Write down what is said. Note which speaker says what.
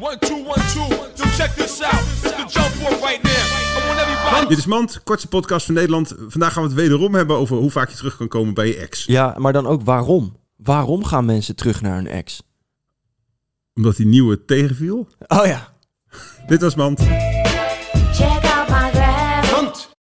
Speaker 1: One, two, one, two. So check this out. It's the jump work right now. I want everybody.
Speaker 2: Dit is Mand, kortste podcast van Nederland. Vandaag gaan we het wederom hebben over hoe vaak je terug kan komen bij je ex.
Speaker 3: Ja, maar dan ook waarom? Waarom gaan mensen terug naar hun ex?
Speaker 2: Omdat die nieuwe tegenviel.
Speaker 3: Oh ja.
Speaker 2: Dit was Mand.
Speaker 4: Check out